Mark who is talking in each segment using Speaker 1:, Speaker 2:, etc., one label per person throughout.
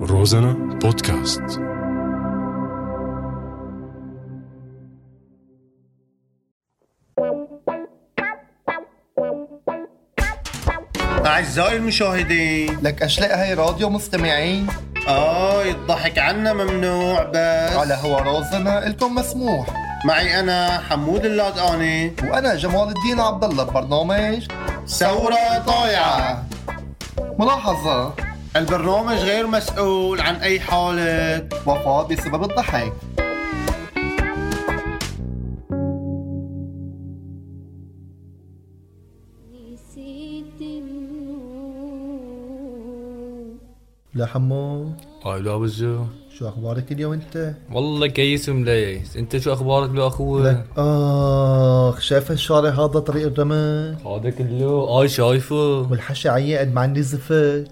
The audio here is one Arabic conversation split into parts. Speaker 1: روزانا بودكاست
Speaker 2: أعزائي المشاهدين
Speaker 3: لك اشلاء هاي راديو مستمعين
Speaker 2: آي الضحك عنا ممنوع بس
Speaker 3: على هو رازنا الكم مسموح
Speaker 2: معي أنا حمود اللادقاني
Speaker 3: وانا جمال الدين عبد الله ببرنامج
Speaker 2: ثورة طايعة
Speaker 3: ملاحظه
Speaker 2: البرنامج غير مسؤول عن أي حالة
Speaker 3: وفاه بسبب الضحك
Speaker 4: نسيت النور
Speaker 3: لا حمو
Speaker 5: قال له وجو
Speaker 3: شو اخبارك اليوم انت؟
Speaker 5: والله كيس ومليس انت شو اخبارك لو اخوي
Speaker 3: اخ شايف الشارع هذا طريق الرمل
Speaker 5: هذا كله اي شايفه
Speaker 3: والحشا عياد ما عندي زفت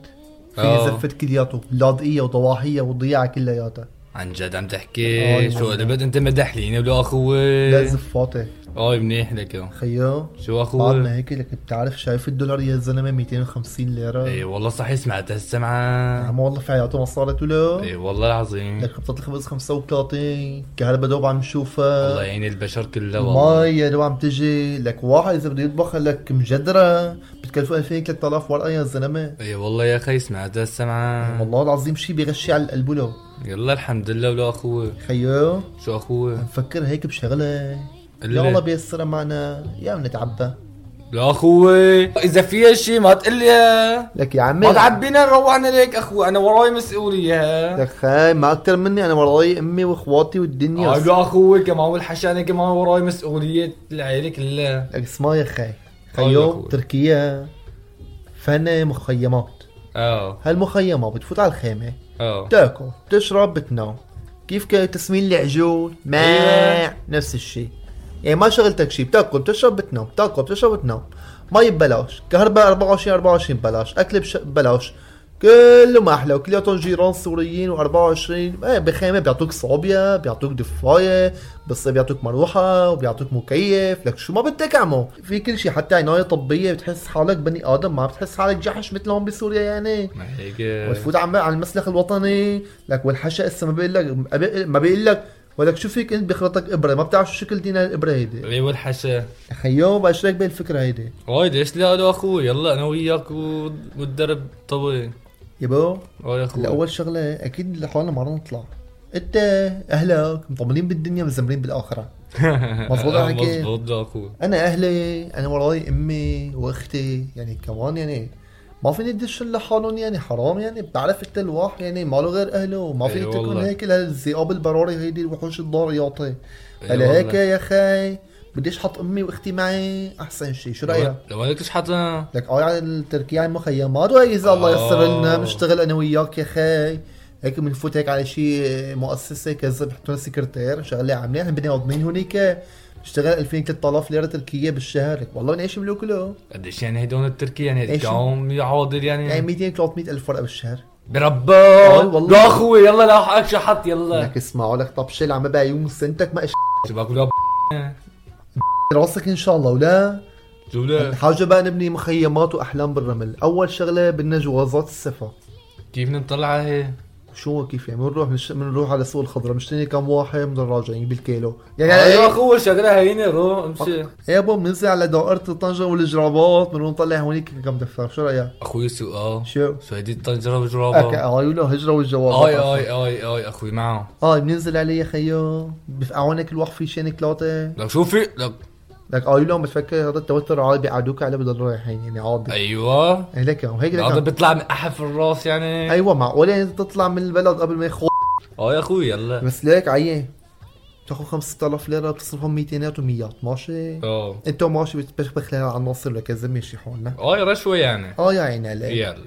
Speaker 3: في
Speaker 5: آه.
Speaker 3: زفت كلياته لاذقيه وضواحيه والضياعه كلياتها
Speaker 5: عن جد عم
Speaker 3: آه،
Speaker 5: تحكي شو
Speaker 3: والله.
Speaker 5: قلبت انت مدحليني ولا اخوي
Speaker 3: لا زفاتك
Speaker 5: اي منيح لك
Speaker 3: خيو
Speaker 5: شو
Speaker 3: بعد
Speaker 5: اخوي
Speaker 3: ما هيك لك بتعرف شايف الدولار يا زلمه 250 ليره
Speaker 5: اي والله صحيح سمعت هالسمعة
Speaker 3: عم والله في حياته ما صارت ولا
Speaker 5: اي والله العظيم
Speaker 3: لك حطيت الخبز 35 كهرباء دوب عم
Speaker 5: الله
Speaker 3: نشوفها
Speaker 5: يعين البشر كلها والله
Speaker 3: المي دوب عم تجي لك واحد اذا بده يطبخ لك مجدره بتكلفه 2000 3000 ورقه يا زلمه
Speaker 5: اي والله يا اخي سمعت هالسمعة
Speaker 3: والله العظيم شي بيغشي على القلب له
Speaker 5: يلا الحمد لله ولا اخوي
Speaker 3: خيو
Speaker 5: شو اخوي
Speaker 3: مفكر هيك بشغله
Speaker 5: قلي.
Speaker 3: يا الله بيسرها معنا يا بنتعبى
Speaker 5: لا اخوي اذا في شيء ما تقلي
Speaker 3: لك يا عمي
Speaker 5: ما تعبينا روحنا ليك اخوي انا وراي مسؤوليه
Speaker 3: لك خاي ما اكثر مني انا وراي امي واخواتي والدنيا
Speaker 5: قال له اخوي كمان والحشانه كمان وراي مسؤوليه العيله كلها
Speaker 3: لك اسمع يا خاي
Speaker 5: يا
Speaker 3: خيو
Speaker 5: أخوي.
Speaker 3: تركيا فن مخيمات
Speaker 5: اه
Speaker 3: هالمخيمات بتفوت على الخيمه
Speaker 5: اه
Speaker 3: تاكل تشرب بتنام كيف كان تسمين العجول ما
Speaker 5: أيوة.
Speaker 3: نفس الشيء يعني ما شغلتك شيء بتاكل بتشرب بتنام بتاكل بتشرب بتنام مي ببلاش كهرباء 24 24 ببلاش اكل بش- ببلاش كله ما احلى وكلياتهم جيران سوريين و24 ايه بخيمه بيعطوك صوبيا بيعطوك ضفايه بس بيعطوك مروحه وبيعطوك مكيف لك شو ما بدك اعمل في كل شيء حتى عنايه طبيه بتحس حالك بني ادم ما بتحس حالك جحش مثل هون بسوريا يعني
Speaker 5: ما هيك
Speaker 3: وتفوت عم على المسلخ الوطني لك والحشا اسا ما بقول لك ما بقول لك ولك شو فيك انت بخرطك ابره ما بتعرف شو شكل دينا الابره هيدي
Speaker 5: ايوه الحشا
Speaker 3: خيو بشرك بهالفكره هيدي
Speaker 5: هاي ليش لا لا اخوي يلا انا وياك و- والدرب طوي
Speaker 3: يا بو
Speaker 5: هاي اخوي
Speaker 3: هلا اول شغله اكيد لحالنا ما رح نطلع انت اهلك مطمنين بالدنيا مزمرين بالاخره مظبوط
Speaker 5: آه،
Speaker 3: عليك.
Speaker 5: مظبوط لا اخوي
Speaker 3: انا اهلي انا وراي امي واختي يعني كمان يعني ما فيني ادش لحالهم يعني حرام يعني بتعرف انت الواحد يعني ما له غير اهله ما
Speaker 5: إيه
Speaker 3: فيك تكون
Speaker 5: والله.
Speaker 3: هيك لهالذئاب البراري هيدي الوحوش الضارياطه
Speaker 5: إيه
Speaker 3: هلا هيك
Speaker 5: والله.
Speaker 3: يا خي بديش حط امي واختي معي احسن شيء شو رايك؟
Speaker 5: لو انك مش حاطها
Speaker 3: لك اه على تركيا على المخيمات واذا الله يسر لنا
Speaker 5: آه.
Speaker 3: بنشتغل انا وياك يا خي هيك بنفوت هيك على شيء مؤسسه كذا بحطوا لنا سكرتير شغله عاملين احنا بدنا ناضمين هونيك بنشتغل 2000 3000 ليره تركيه بالشهر لك والله بنعيش بلوكلو
Speaker 5: قديش يعني هدول التركي يعني
Speaker 3: إيش؟
Speaker 5: هيك يوم يعادل
Speaker 3: يعني
Speaker 5: يعني
Speaker 3: 200 300 الف ورقه بالشهر آه،
Speaker 5: بربك
Speaker 3: والله.
Speaker 5: لا اخوي يلا لا حقك شحط يلا
Speaker 3: لك اسمعوا لك طبشه اللي عم بعيون سنتك ما اش
Speaker 5: شباك ولا
Speaker 3: راسك ان شاء الله ولا
Speaker 5: جولة
Speaker 3: حاجه بقى نبني مخيمات واحلام بالرمل اول شغله بدنا جوازات السفر
Speaker 5: كيف نطلع هي
Speaker 3: شو كيف يعني بنروح بنش- بنروح على سوق الخضراء بنشتري كم واحد بدنا راجعين بالكيلو يعني على
Speaker 5: يا
Speaker 3: ايه
Speaker 5: اخوي شغلة هينة رو امشي
Speaker 3: ايه بابا بننزل على دائرة طنجة والجرابات بنقوم نطلع هونيك كم دفتر شو رأيك؟
Speaker 5: اخوي سؤال
Speaker 3: شو؟
Speaker 5: شو هيدي الطنجرة
Speaker 3: اك
Speaker 5: وجرابة
Speaker 3: عيونه هجرة والجواب
Speaker 5: اي اي اي اي اخوي معه
Speaker 3: اه بننزل عليه يا خيو بفقعونك الوقت في شينك ثلاثة
Speaker 5: لك شو في لك
Speaker 3: لك عيونه بتفكر هذا التوتر عادي بيقعدوك عليه بدل رايحين يعني عادي
Speaker 5: ايوه
Speaker 3: ايه لك هيك
Speaker 5: هذا
Speaker 3: لك
Speaker 5: بيطلع من احف الراس يعني
Speaker 3: ايوه معقولة يعني تطلع من البلد قبل ما يخو
Speaker 5: اه يا اخوي يلا
Speaker 3: بس ليك عيان بتاخذ 5000 ليرة بتصرفهم 200 و100 ماشي؟
Speaker 5: اه
Speaker 3: انت وماشي بتبخبخ لها على الناصر لكذا ماشي حالنا
Speaker 5: اي رشوة يعني
Speaker 3: اه يا عيني عليك
Speaker 5: يلا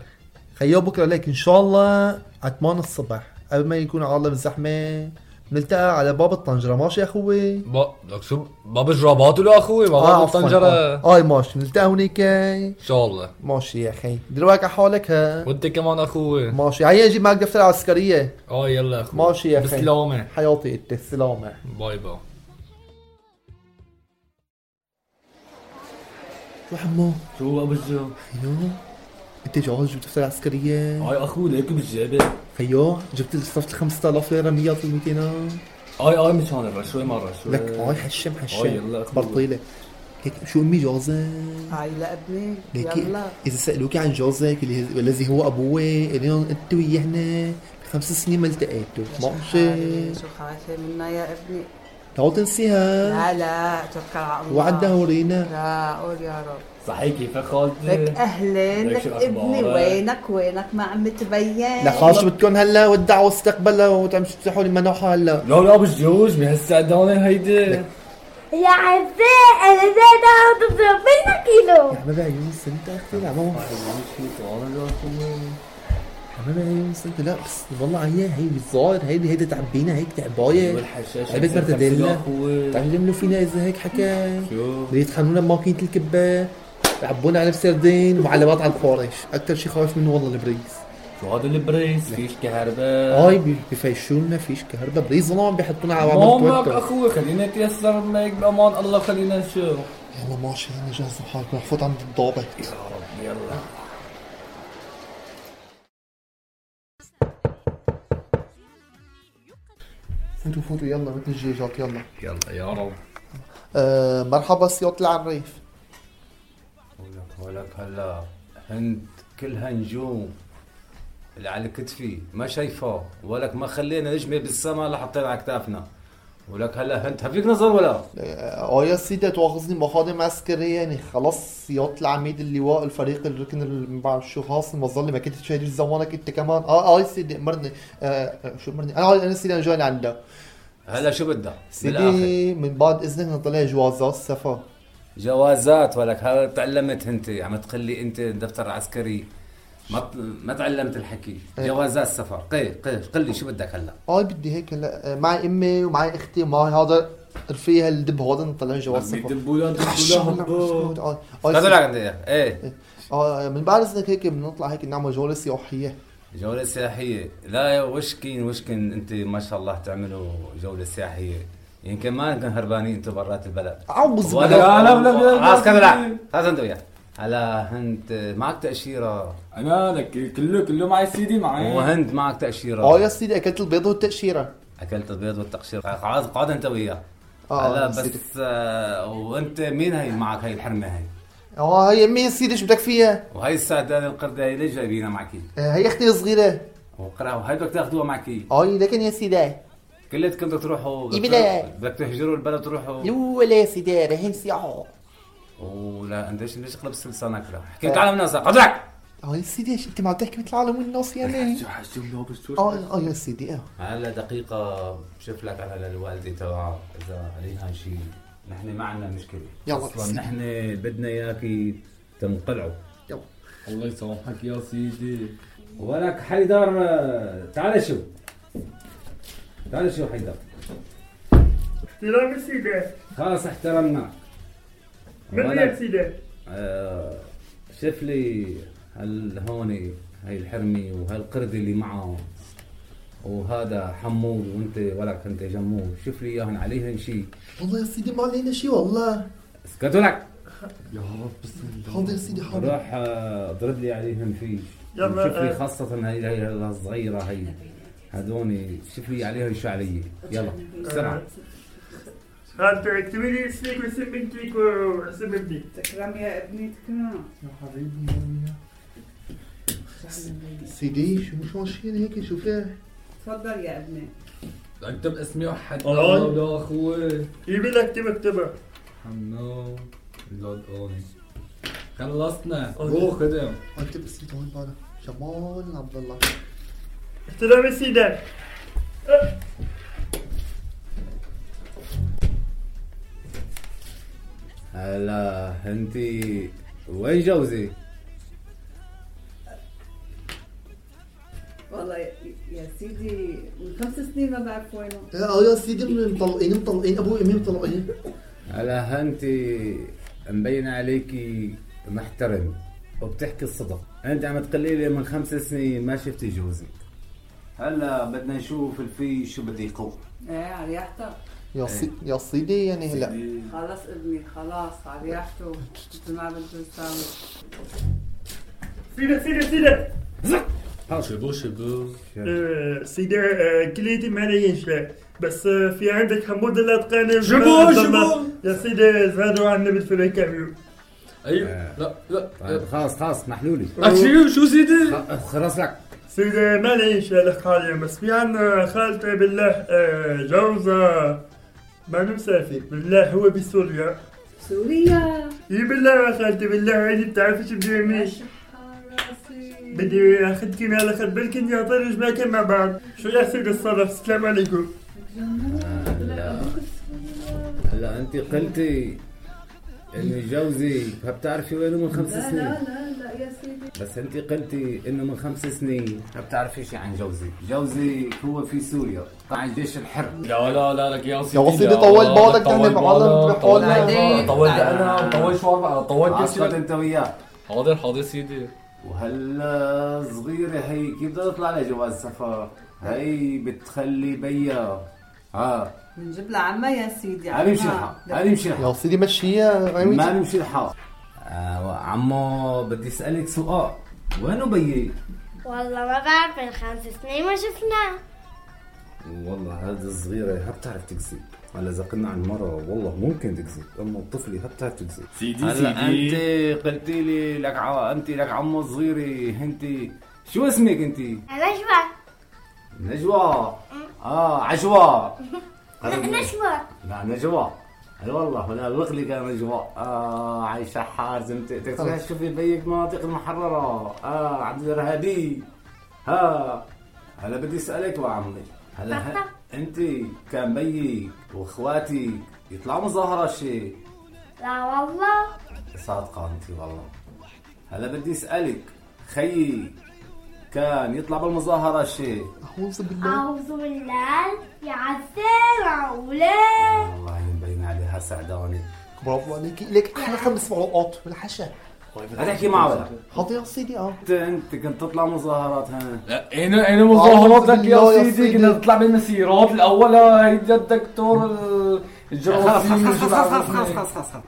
Speaker 3: خيو بكره لك ان شاء الله على 8 الصبح قبل ما يكون العالم الزحمه بنلتقى على باب الطنجره ماشي يا اخوي
Speaker 5: با- لك شو باب جرابات ولا اخوي ما باب
Speaker 3: آه، عفواً،
Speaker 5: الطنجرة
Speaker 3: اه آي ماشي بنلتقى هونيك
Speaker 5: ان شاء الله
Speaker 3: ماشي يا اخي دروك على حالك ها
Speaker 5: وانت كمان اخوي
Speaker 3: ماشي عيان جيب معك دفتر عسكريه
Speaker 5: اه يلا اخوي
Speaker 3: ماشي يا أخي.
Speaker 5: بالسلامة
Speaker 3: حياتي انت السلامه
Speaker 5: باي باي
Speaker 3: شو حمو
Speaker 5: شو ابو الجو
Speaker 3: خيو انت جوز جبت افتر عسكريه
Speaker 5: هاي اخو لك بالجبل
Speaker 3: خيو جبت صرفت 5000 ليره 100 200
Speaker 5: هاي هاي مشان الرشوه ما الرشوه
Speaker 3: لك هاي حشم حشم
Speaker 5: هاي يلا أخوي.
Speaker 3: برطيله هيك شو امي جوزك
Speaker 6: هاي لابني
Speaker 3: لك
Speaker 6: يلا
Speaker 3: اذا سالوك عن جوزك اللي- والذي هو ابوي اليوم انت ويانا خمس سنين ما التقيتوا ما
Speaker 6: شو
Speaker 3: قمشي
Speaker 6: شو خايفة منا يا ابني
Speaker 3: لو تنسيها
Speaker 6: لا لا توكل على الله
Speaker 3: وعدها ورينا
Speaker 6: لا قول يا رب
Speaker 5: صحيح كيف خالتي
Speaker 6: لك اهلين
Speaker 5: لك
Speaker 6: لك
Speaker 5: شو
Speaker 6: ابني
Speaker 5: أخبارك؟
Speaker 6: وينك وينك ما عم تبين
Speaker 3: لا خلاص شو بدكم هلا ودعوا استقبلها وتعم تفتحوا لي منوحه هلا
Speaker 5: لا لا بالجوج بهالسعدانه هيدي
Speaker 7: يا عزاء انا زاد اخذ ربنا كيلو
Speaker 3: يا حبيبي عيونس انت اختي لا ما حبيبي عيونس انت لا بس والله عيا هي بالظاهر هيدي هيدي تعبينا هيك تعبايه
Speaker 5: والحشاش
Speaker 3: عبيت مرتديلا تعلمنا فينا اذا هيك حكى
Speaker 5: شو
Speaker 3: بدي يطحنونا بماكينة الكبة يعبونا على سردين ومعلبات على الخوارش اكثر شيء خايف منه والله البريز
Speaker 5: شو هذا البريس فيش كهرباء
Speaker 3: هاي بي- بفيشونا فيش كهرباء بريز ظلام بيحطونا على
Speaker 5: ما
Speaker 3: عوامل
Speaker 5: معك
Speaker 3: توتر
Speaker 5: اخوي خلينا نتيسر معك بامان الله خلينا نشوف
Speaker 3: يلا ماشي انا جاهز حالك رح فوت عند الضابط
Speaker 5: يا رب يلا
Speaker 3: فوتوا فوتوا يلا مثل الجيجات يلا
Speaker 5: يلا يا رب
Speaker 3: آه مرحبا سياط العريف
Speaker 5: ولك ولك هلا هند كلها نجوم اللي على كتفي ما شايفاه ولك ما خلينا نجمه بالسما لا حطينا على كتافنا ولك هلا هند هفيك نظر ولا
Speaker 3: آه آه يا سيدي تواخذني مخادم عسكرية يعني خلاص سياط العميد اللواء الفريق الركن ال- ما بعرف شو خاص المظلة ما كنت شايل زمانك انت كمان اه اه يا سيدي امرني آه آه، شو امرني انا انا سيدي انا جاي لعندك
Speaker 5: هلا شو بدها بالاخر
Speaker 3: سيدي من بعد اذنك نطلع جوازات سفر
Speaker 5: جوازات ولك هلا تعلمت انت عم تقلي انت دفتر عسكري ما ت- ما تعلمت الحكي
Speaker 3: إيه.
Speaker 5: جوازات سفر قي قي قلي شو بدك هلا
Speaker 3: اه بدي هيك هلا آه، معي امي ومعي اختي ومعي هذا رفيق هالدب هذا نطلع جواز سفر آه، آه، يا
Speaker 5: هذا
Speaker 3: سيدي.
Speaker 5: لك عندي إياه. ايه
Speaker 3: اه من بعد اذنك هيك بنطلع هيك نعمل جولة سياحية
Speaker 5: جولة سياحية لا يا وشكين وشكين انت ما شاء الله تعملوا جولة سياحية يمكن ما نكون هربانين انتم برات البلد
Speaker 3: عوز
Speaker 5: ولا-
Speaker 3: بلا-
Speaker 5: خلاص كمل لا خلاص انت وياه هلا هند معك تأشيرة
Speaker 8: انا لك كله كله معي سيدي معي
Speaker 5: وهند معك تأشيرة
Speaker 3: اه يا سيدي اكلت البيض والتقشيرة
Speaker 5: اكلت البيض والتقشير قعد قعد انت وياه
Speaker 3: آه،
Speaker 5: هلا
Speaker 3: نسيت.
Speaker 5: بس آه، وانت مين هي معك هي الحرمه هي
Speaker 3: اه هي امي يا سيدي شو بدك فيها؟
Speaker 5: وهي السعدانه القرده هي ليش جايبينها معك
Speaker 3: آه، هي اختي الصغيرة
Speaker 5: وقرا وهي بدك تاخذوها معك
Speaker 3: اه لكن يا سيدي
Speaker 5: كلتكم بدك تروحوا بدك
Speaker 3: يبلا.
Speaker 5: تروحوا- بدك تهجروا البلد تروحوا
Speaker 3: ولا يا سيدي رايحين سياحة
Speaker 5: ولا انت ليش ليش قلبت لسانك لا حكيت على الناس قعد لك
Speaker 3: اه يا سيدي شو انت ما عم تحكي مثل العالم والناس يعني اه اه يا سيدي اه
Speaker 5: هلا دقيقه بشوف لك على الوالده تبعك اذا عليها شيء نحن ما عندنا مشكله
Speaker 3: يلا
Speaker 5: اصلا نحن بدنا اياكي تنقلعوا
Speaker 3: يلا
Speaker 5: الله يسامحك يا سيدي ولك حيدر آه، تعال شو تعال شو حيدر
Speaker 9: احترام السيدة
Speaker 5: خلاص احترمنا
Speaker 9: مريم سيدة
Speaker 5: آه، شوف لي هالهوني هاي الحرمي وهالقردي اللي معه وهذا حمول وانت ولك انت جمول شوف لي اياهم عليهم شيء
Speaker 3: والله يا سيدي ما علينا شيء والله
Speaker 5: اسكتوا لك
Speaker 3: حاضر يا سيدي حاضر
Speaker 5: روح آه، اضرب لي عليهم فيه
Speaker 9: يلا،
Speaker 5: شوف لي
Speaker 9: آه.
Speaker 5: خاصة هاي هاي الصغيرة هاي هذوني شوف لي عليهم شو علي يلا بسرعة
Speaker 9: هات اكتبي لي اسمك واسم بنتك واسم ابنك
Speaker 6: تكرم يا ابني تكرم
Speaker 3: سيدي شو مش ماشيين هيك شو فيه؟
Speaker 6: تفضل يا ابني
Speaker 10: انت باسمي وحد
Speaker 9: والله.
Speaker 10: يا اخوي
Speaker 9: يبي لك اكتب اكتبها
Speaker 10: حنو لود اوني خلصنا روح خدم
Speaker 3: انت بس سيدي هون بعدها جمال عبد الله
Speaker 9: احترام السيدة
Speaker 5: هلا انتي وين جوزي؟
Speaker 6: والله يا- يا سيدي من خمس سنين ما بعرف وينه
Speaker 3: اه يا سيدي من- مطلقين مطلقين ابوي وامي مطلقين
Speaker 5: هلا انتي مبين عليكي محترم وبتحكي الصدق انت عم تقلي لي من خمس سنين ما شفتي جوزي هلا بدنا نشوف الفي شو بده يقول
Speaker 6: ايه على ريحتك
Speaker 3: يا سيدي يا سيدي يعني هلا
Speaker 6: خلص ابني خلاص على ريحته مثل ما بده يساوي
Speaker 11: سيدة سيدة سيدة
Speaker 5: شبو شبو
Speaker 11: آه، سيدة آه، كليتي ما ليش بس آه، في عندك حمود الله تقاني
Speaker 5: جيبوه،
Speaker 11: بالضبط.
Speaker 5: جيبوه.
Speaker 11: يا سيدي زادوا عنا بالفلوي كاميو
Speaker 5: ايوه لا لا
Speaker 9: طيب خلاص خلاص اسمحوا لي
Speaker 5: اكشيو شو سيدي
Speaker 9: خ- خلاص لك
Speaker 11: سيدي ما ليش لك حاليا بس في عنا خالتي بالله آه، جوزة ما نمسافي بالله هو بسوريا
Speaker 6: سوريا
Speaker 11: اي بالله يا خالتي بالله عيني بتعرفش بجيبني بدي اخذكم يا الاخر بلكن يا طير جماعتين مع بعض شو يا سيدي الصدف السلام عليكم
Speaker 9: هلا انت قلتي انه جوزي بتعرفي وينه من خمس
Speaker 6: لا
Speaker 9: سنين
Speaker 6: لا لا لا يا سيدي
Speaker 9: بس انت قلتي انه من خمس سنين ما بتعرفي شيء عن جوزي جوزي هو في سوريا قاع الجيش الحر
Speaker 5: لا لا لا لك يا سيدي
Speaker 3: يا سيدي طول بالك تهني بعضك
Speaker 6: بعضك.
Speaker 5: طولت انا طولت شو أربعة، طولت يا
Speaker 9: عصفت
Speaker 5: سيدي
Speaker 9: انت وياه
Speaker 5: حاضر حاضر سيدي
Speaker 9: وهلا صغيرة هي كيف بدها تطلع لها جواز سفر هي بتخلي بيا ها
Speaker 6: بنجيب لها عمها يا سيدي
Speaker 9: هل يمشي
Speaker 6: آه.
Speaker 9: الحال هل يمشي الحال
Speaker 3: يا سيدي مشيها
Speaker 9: ما
Speaker 3: عمي
Speaker 9: نمشي الحال آه عمو بدي اسالك سؤال وينه بيي؟
Speaker 7: والله ما بعرف من خمس سنين ما شفناه
Speaker 9: والله هذه الصغيرة هي بتعرف تكذب هلا إذا قلنا عن المرة والله ممكن تكذب أما الطفلة هي بتعرف تكذب
Speaker 12: سيدي
Speaker 9: هلا أنت
Speaker 12: سيدي
Speaker 9: قلتي لي لك ع... أنت لك عمو صغيرة أنت شو اسمك أنت؟
Speaker 7: نشوى
Speaker 9: نجوى آه عجوى
Speaker 7: نشوى
Speaker 9: لا نجوى اي والله ولا الوغلي كان نجوى اه عايشه حار زمتك تروح تشوفي بيك مناطق المحرره اه عبد الارهابي ها هلا بدي اسالك وعمي هلا ه- انت كان بيك واخواتك يطلعوا مظاهره شيء
Speaker 7: لا والله
Speaker 9: صادقه انت والله هلا بدي اسالك خيي كان يطلع بالمظاهره شيء
Speaker 3: اعوذ بالله
Speaker 7: أعوذ بالله يا عسل عولاد
Speaker 9: والله مبين عليها سعدانه
Speaker 3: برافو عليك لك احلى خمس مرات بالحشا
Speaker 9: هتحكي معه ولا
Speaker 3: حاضر يا سيدي اه
Speaker 9: انت انت كنت تطلع مظاهرات هنا
Speaker 12: لا، انا انا
Speaker 3: آه،
Speaker 12: مظاهرات لك
Speaker 3: الله يا
Speaker 12: يا سيدي
Speaker 3: سيدي.
Speaker 12: كنا نطلع بالمسيرات الاول هيدا الدكتور ال- الجراثيم والجراثيم.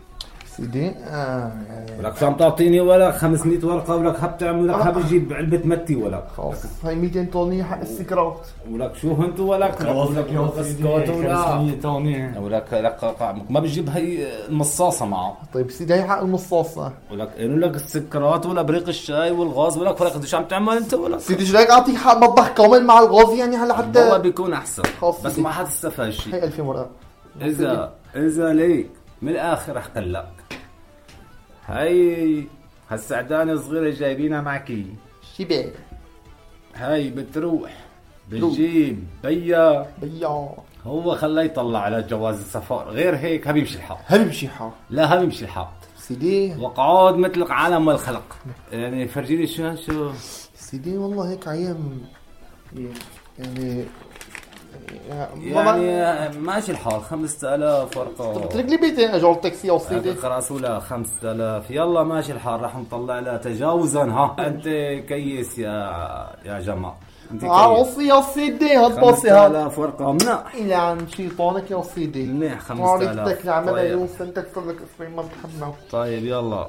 Speaker 3: سيدي آه يعني
Speaker 9: ولك شو عم تعطيني ولا 500 ورقه ولك حب تعمل لك حب تجيب علبه متي ولك
Speaker 3: خلاص هاي 200 طنيه حق السكرات
Speaker 9: ولك شو هنت ولك ولك بسكوت ولا
Speaker 5: توني
Speaker 9: ولك لك قا- ما بتجيب هي المصاصه معه
Speaker 3: طيب سيدي هاي حق المصاصه
Speaker 9: ولك انه لك السكرات ولا بريق الشاي والغاز ولك ولك شو عم تعمل انت ولك
Speaker 3: سيدي شو رايك اعطيك حق مطبخ كامل مع الغاز يعني هلا
Speaker 9: والله
Speaker 3: حتى
Speaker 9: بيكون احسن
Speaker 3: خلاص.
Speaker 9: بس ما حد استفاد شيء
Speaker 3: هي 2000 ورقه
Speaker 9: اذا اذا ليك من الاخر رح قلك هاي هالسعدانه صغيره جايبينها معكي
Speaker 3: شبع
Speaker 9: هاي بتروح بتجيب بيا
Speaker 3: بيا
Speaker 9: هو خلاه يطلع على جواز السفر غير هيك بيمشي الحال
Speaker 3: هل بشي حار
Speaker 9: لا بيمشي الحال
Speaker 3: سيدي
Speaker 9: وقعود مثلك عالم والخلق يعني فرجيني شو شو
Speaker 3: سيدي والله هيك عيام يعني يعني ما-
Speaker 9: يعني ماشي الحال 5000 ورقه
Speaker 3: قلت لك لي بيتي اجار تاكسي او
Speaker 9: هذا
Speaker 3: سيدي
Speaker 9: خلاص ولا 5000 يلا ماشي الحال رح نطلع لها تجاوزا ها انت كيس يا يا جماعه انت كيس
Speaker 3: عوصي آه، يا سيدي هالباصي هاد
Speaker 9: 5000 ورقه منيح
Speaker 3: الى عن شيطانك يا سيدي آه،
Speaker 9: منيح
Speaker 3: معرفتك
Speaker 9: 5000
Speaker 3: لعمل
Speaker 9: طيب.
Speaker 3: عيون سنتك صار لك اسمين ما بتحبنا
Speaker 9: طيب يلا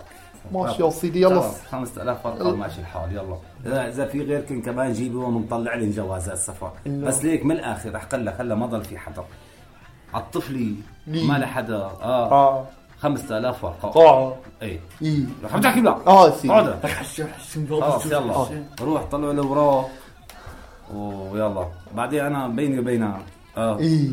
Speaker 3: ماشي يا سيدي يلا
Speaker 9: 5000 ورقه ماشي الحال يلا اذا اذا في غيركم كمان جيبوا ومنطلع لي جوازات سفر
Speaker 3: لا.
Speaker 9: بس ليك من الاخر رح قلك هلا ما ضل في حدا عالطفلي
Speaker 3: لي.
Speaker 9: ما لحدا اه
Speaker 3: اه
Speaker 9: 5000 ورقه
Speaker 3: طاعة
Speaker 9: اي
Speaker 3: ايه
Speaker 9: إيه. رح عم تحكي بلا
Speaker 3: اه سيدي
Speaker 9: اقعد خلاص يلا
Speaker 3: آه.
Speaker 9: روح طلعوا اللي وراه ويلا بعدين انا بيني وبينها اه
Speaker 3: ايه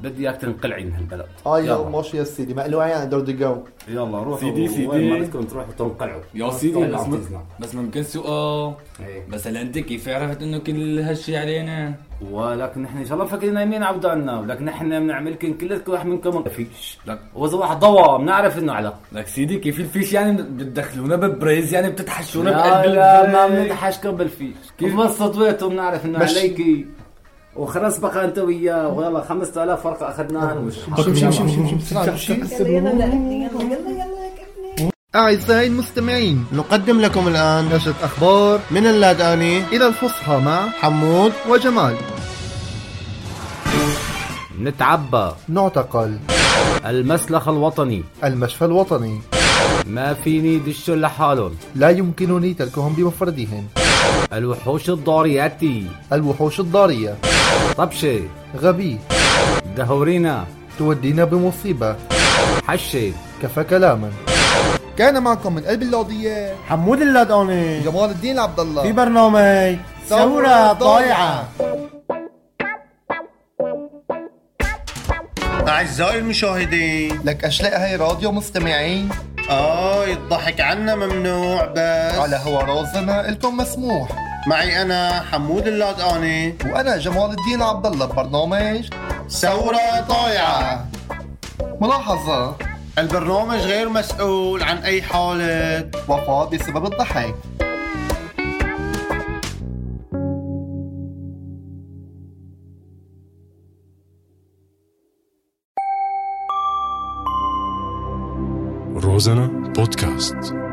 Speaker 9: بدي اياك تنقلعي من هالبلد
Speaker 3: اه يا
Speaker 9: يلا
Speaker 3: ماشي يا سيدي مقلوعي انا دور جو
Speaker 9: يلا روحوا
Speaker 12: سيدي، سيدي.
Speaker 9: وين ما بدكم تروحوا تنقلعوا
Speaker 5: يا سيدي
Speaker 9: يلا
Speaker 5: بس
Speaker 9: عطيني
Speaker 5: ما-
Speaker 9: إذنك.
Speaker 5: بس ممكن سؤال
Speaker 9: طيب، إيه.
Speaker 5: بس هل انت كيف عرفت انه كل هالشي علينا؟
Speaker 9: ولك نحن ان شاء الله فاكرين نايمين عبدالنا ولك نحن بنعمل كن كلكم واحد منكم فيش لك واذا واحد ضوى بنعرف انه على
Speaker 5: لك سيدي كيف الفيش يعني بتدخلونا ببريز يعني بتتحشونا
Speaker 9: لا
Speaker 5: بقلب
Speaker 9: لا ما
Speaker 5: البريز؟
Speaker 9: بنتحشكم بالفيش كيف بس تطويته بنعرف انه
Speaker 3: مش-
Speaker 9: عليكي وخلص بقى انت وياه ويلا 5000 ورقه اخذناها وش
Speaker 3: شم شم شم شم شم شم
Speaker 6: يلا يلا لابني يلا يلا يلا يا ابني
Speaker 3: أعزائي المستمعين
Speaker 2: نقدم لكم الآن
Speaker 3: نشرة أخبار
Speaker 2: من اللاداني
Speaker 3: إلى الفصحى مع
Speaker 2: حمود
Speaker 3: وجمال
Speaker 9: نتعبى
Speaker 3: نعتقل
Speaker 9: المسلخ الوطني
Speaker 3: المشفى الوطني
Speaker 9: ما فيني دشوا لحالهم
Speaker 3: لا يمكنني تركهم بمفردهم
Speaker 9: الوحوش الضارياتي
Speaker 3: الوحوش الضارية
Speaker 9: طبشة
Speaker 3: غبي
Speaker 9: دهورينا
Speaker 3: تودينا بمصيبة
Speaker 9: حشة
Speaker 3: كفى كلاما كان معكم من قلب اللوضية
Speaker 2: حمود اللدقاني
Speaker 3: جمال الدين عبد
Speaker 2: في
Speaker 3: الله
Speaker 2: برنامج ثورة ضايعة أعزائي المشاهدين
Speaker 3: لك أشلاء هاي راديو مستمعين
Speaker 2: آه الضحك عنا ممنوع بس
Speaker 3: على هو رازنا إلكم مسموح
Speaker 2: معي أنا حمود اللادقاني
Speaker 3: وأنا جمال الدين عبد الله ببرنامج
Speaker 2: ثورة ضايعة
Speaker 3: ملاحظة
Speaker 2: البرنامج غير مسؤول عن أي حالة
Speaker 3: وفاة بسبب الضحك
Speaker 1: Розана подкаст.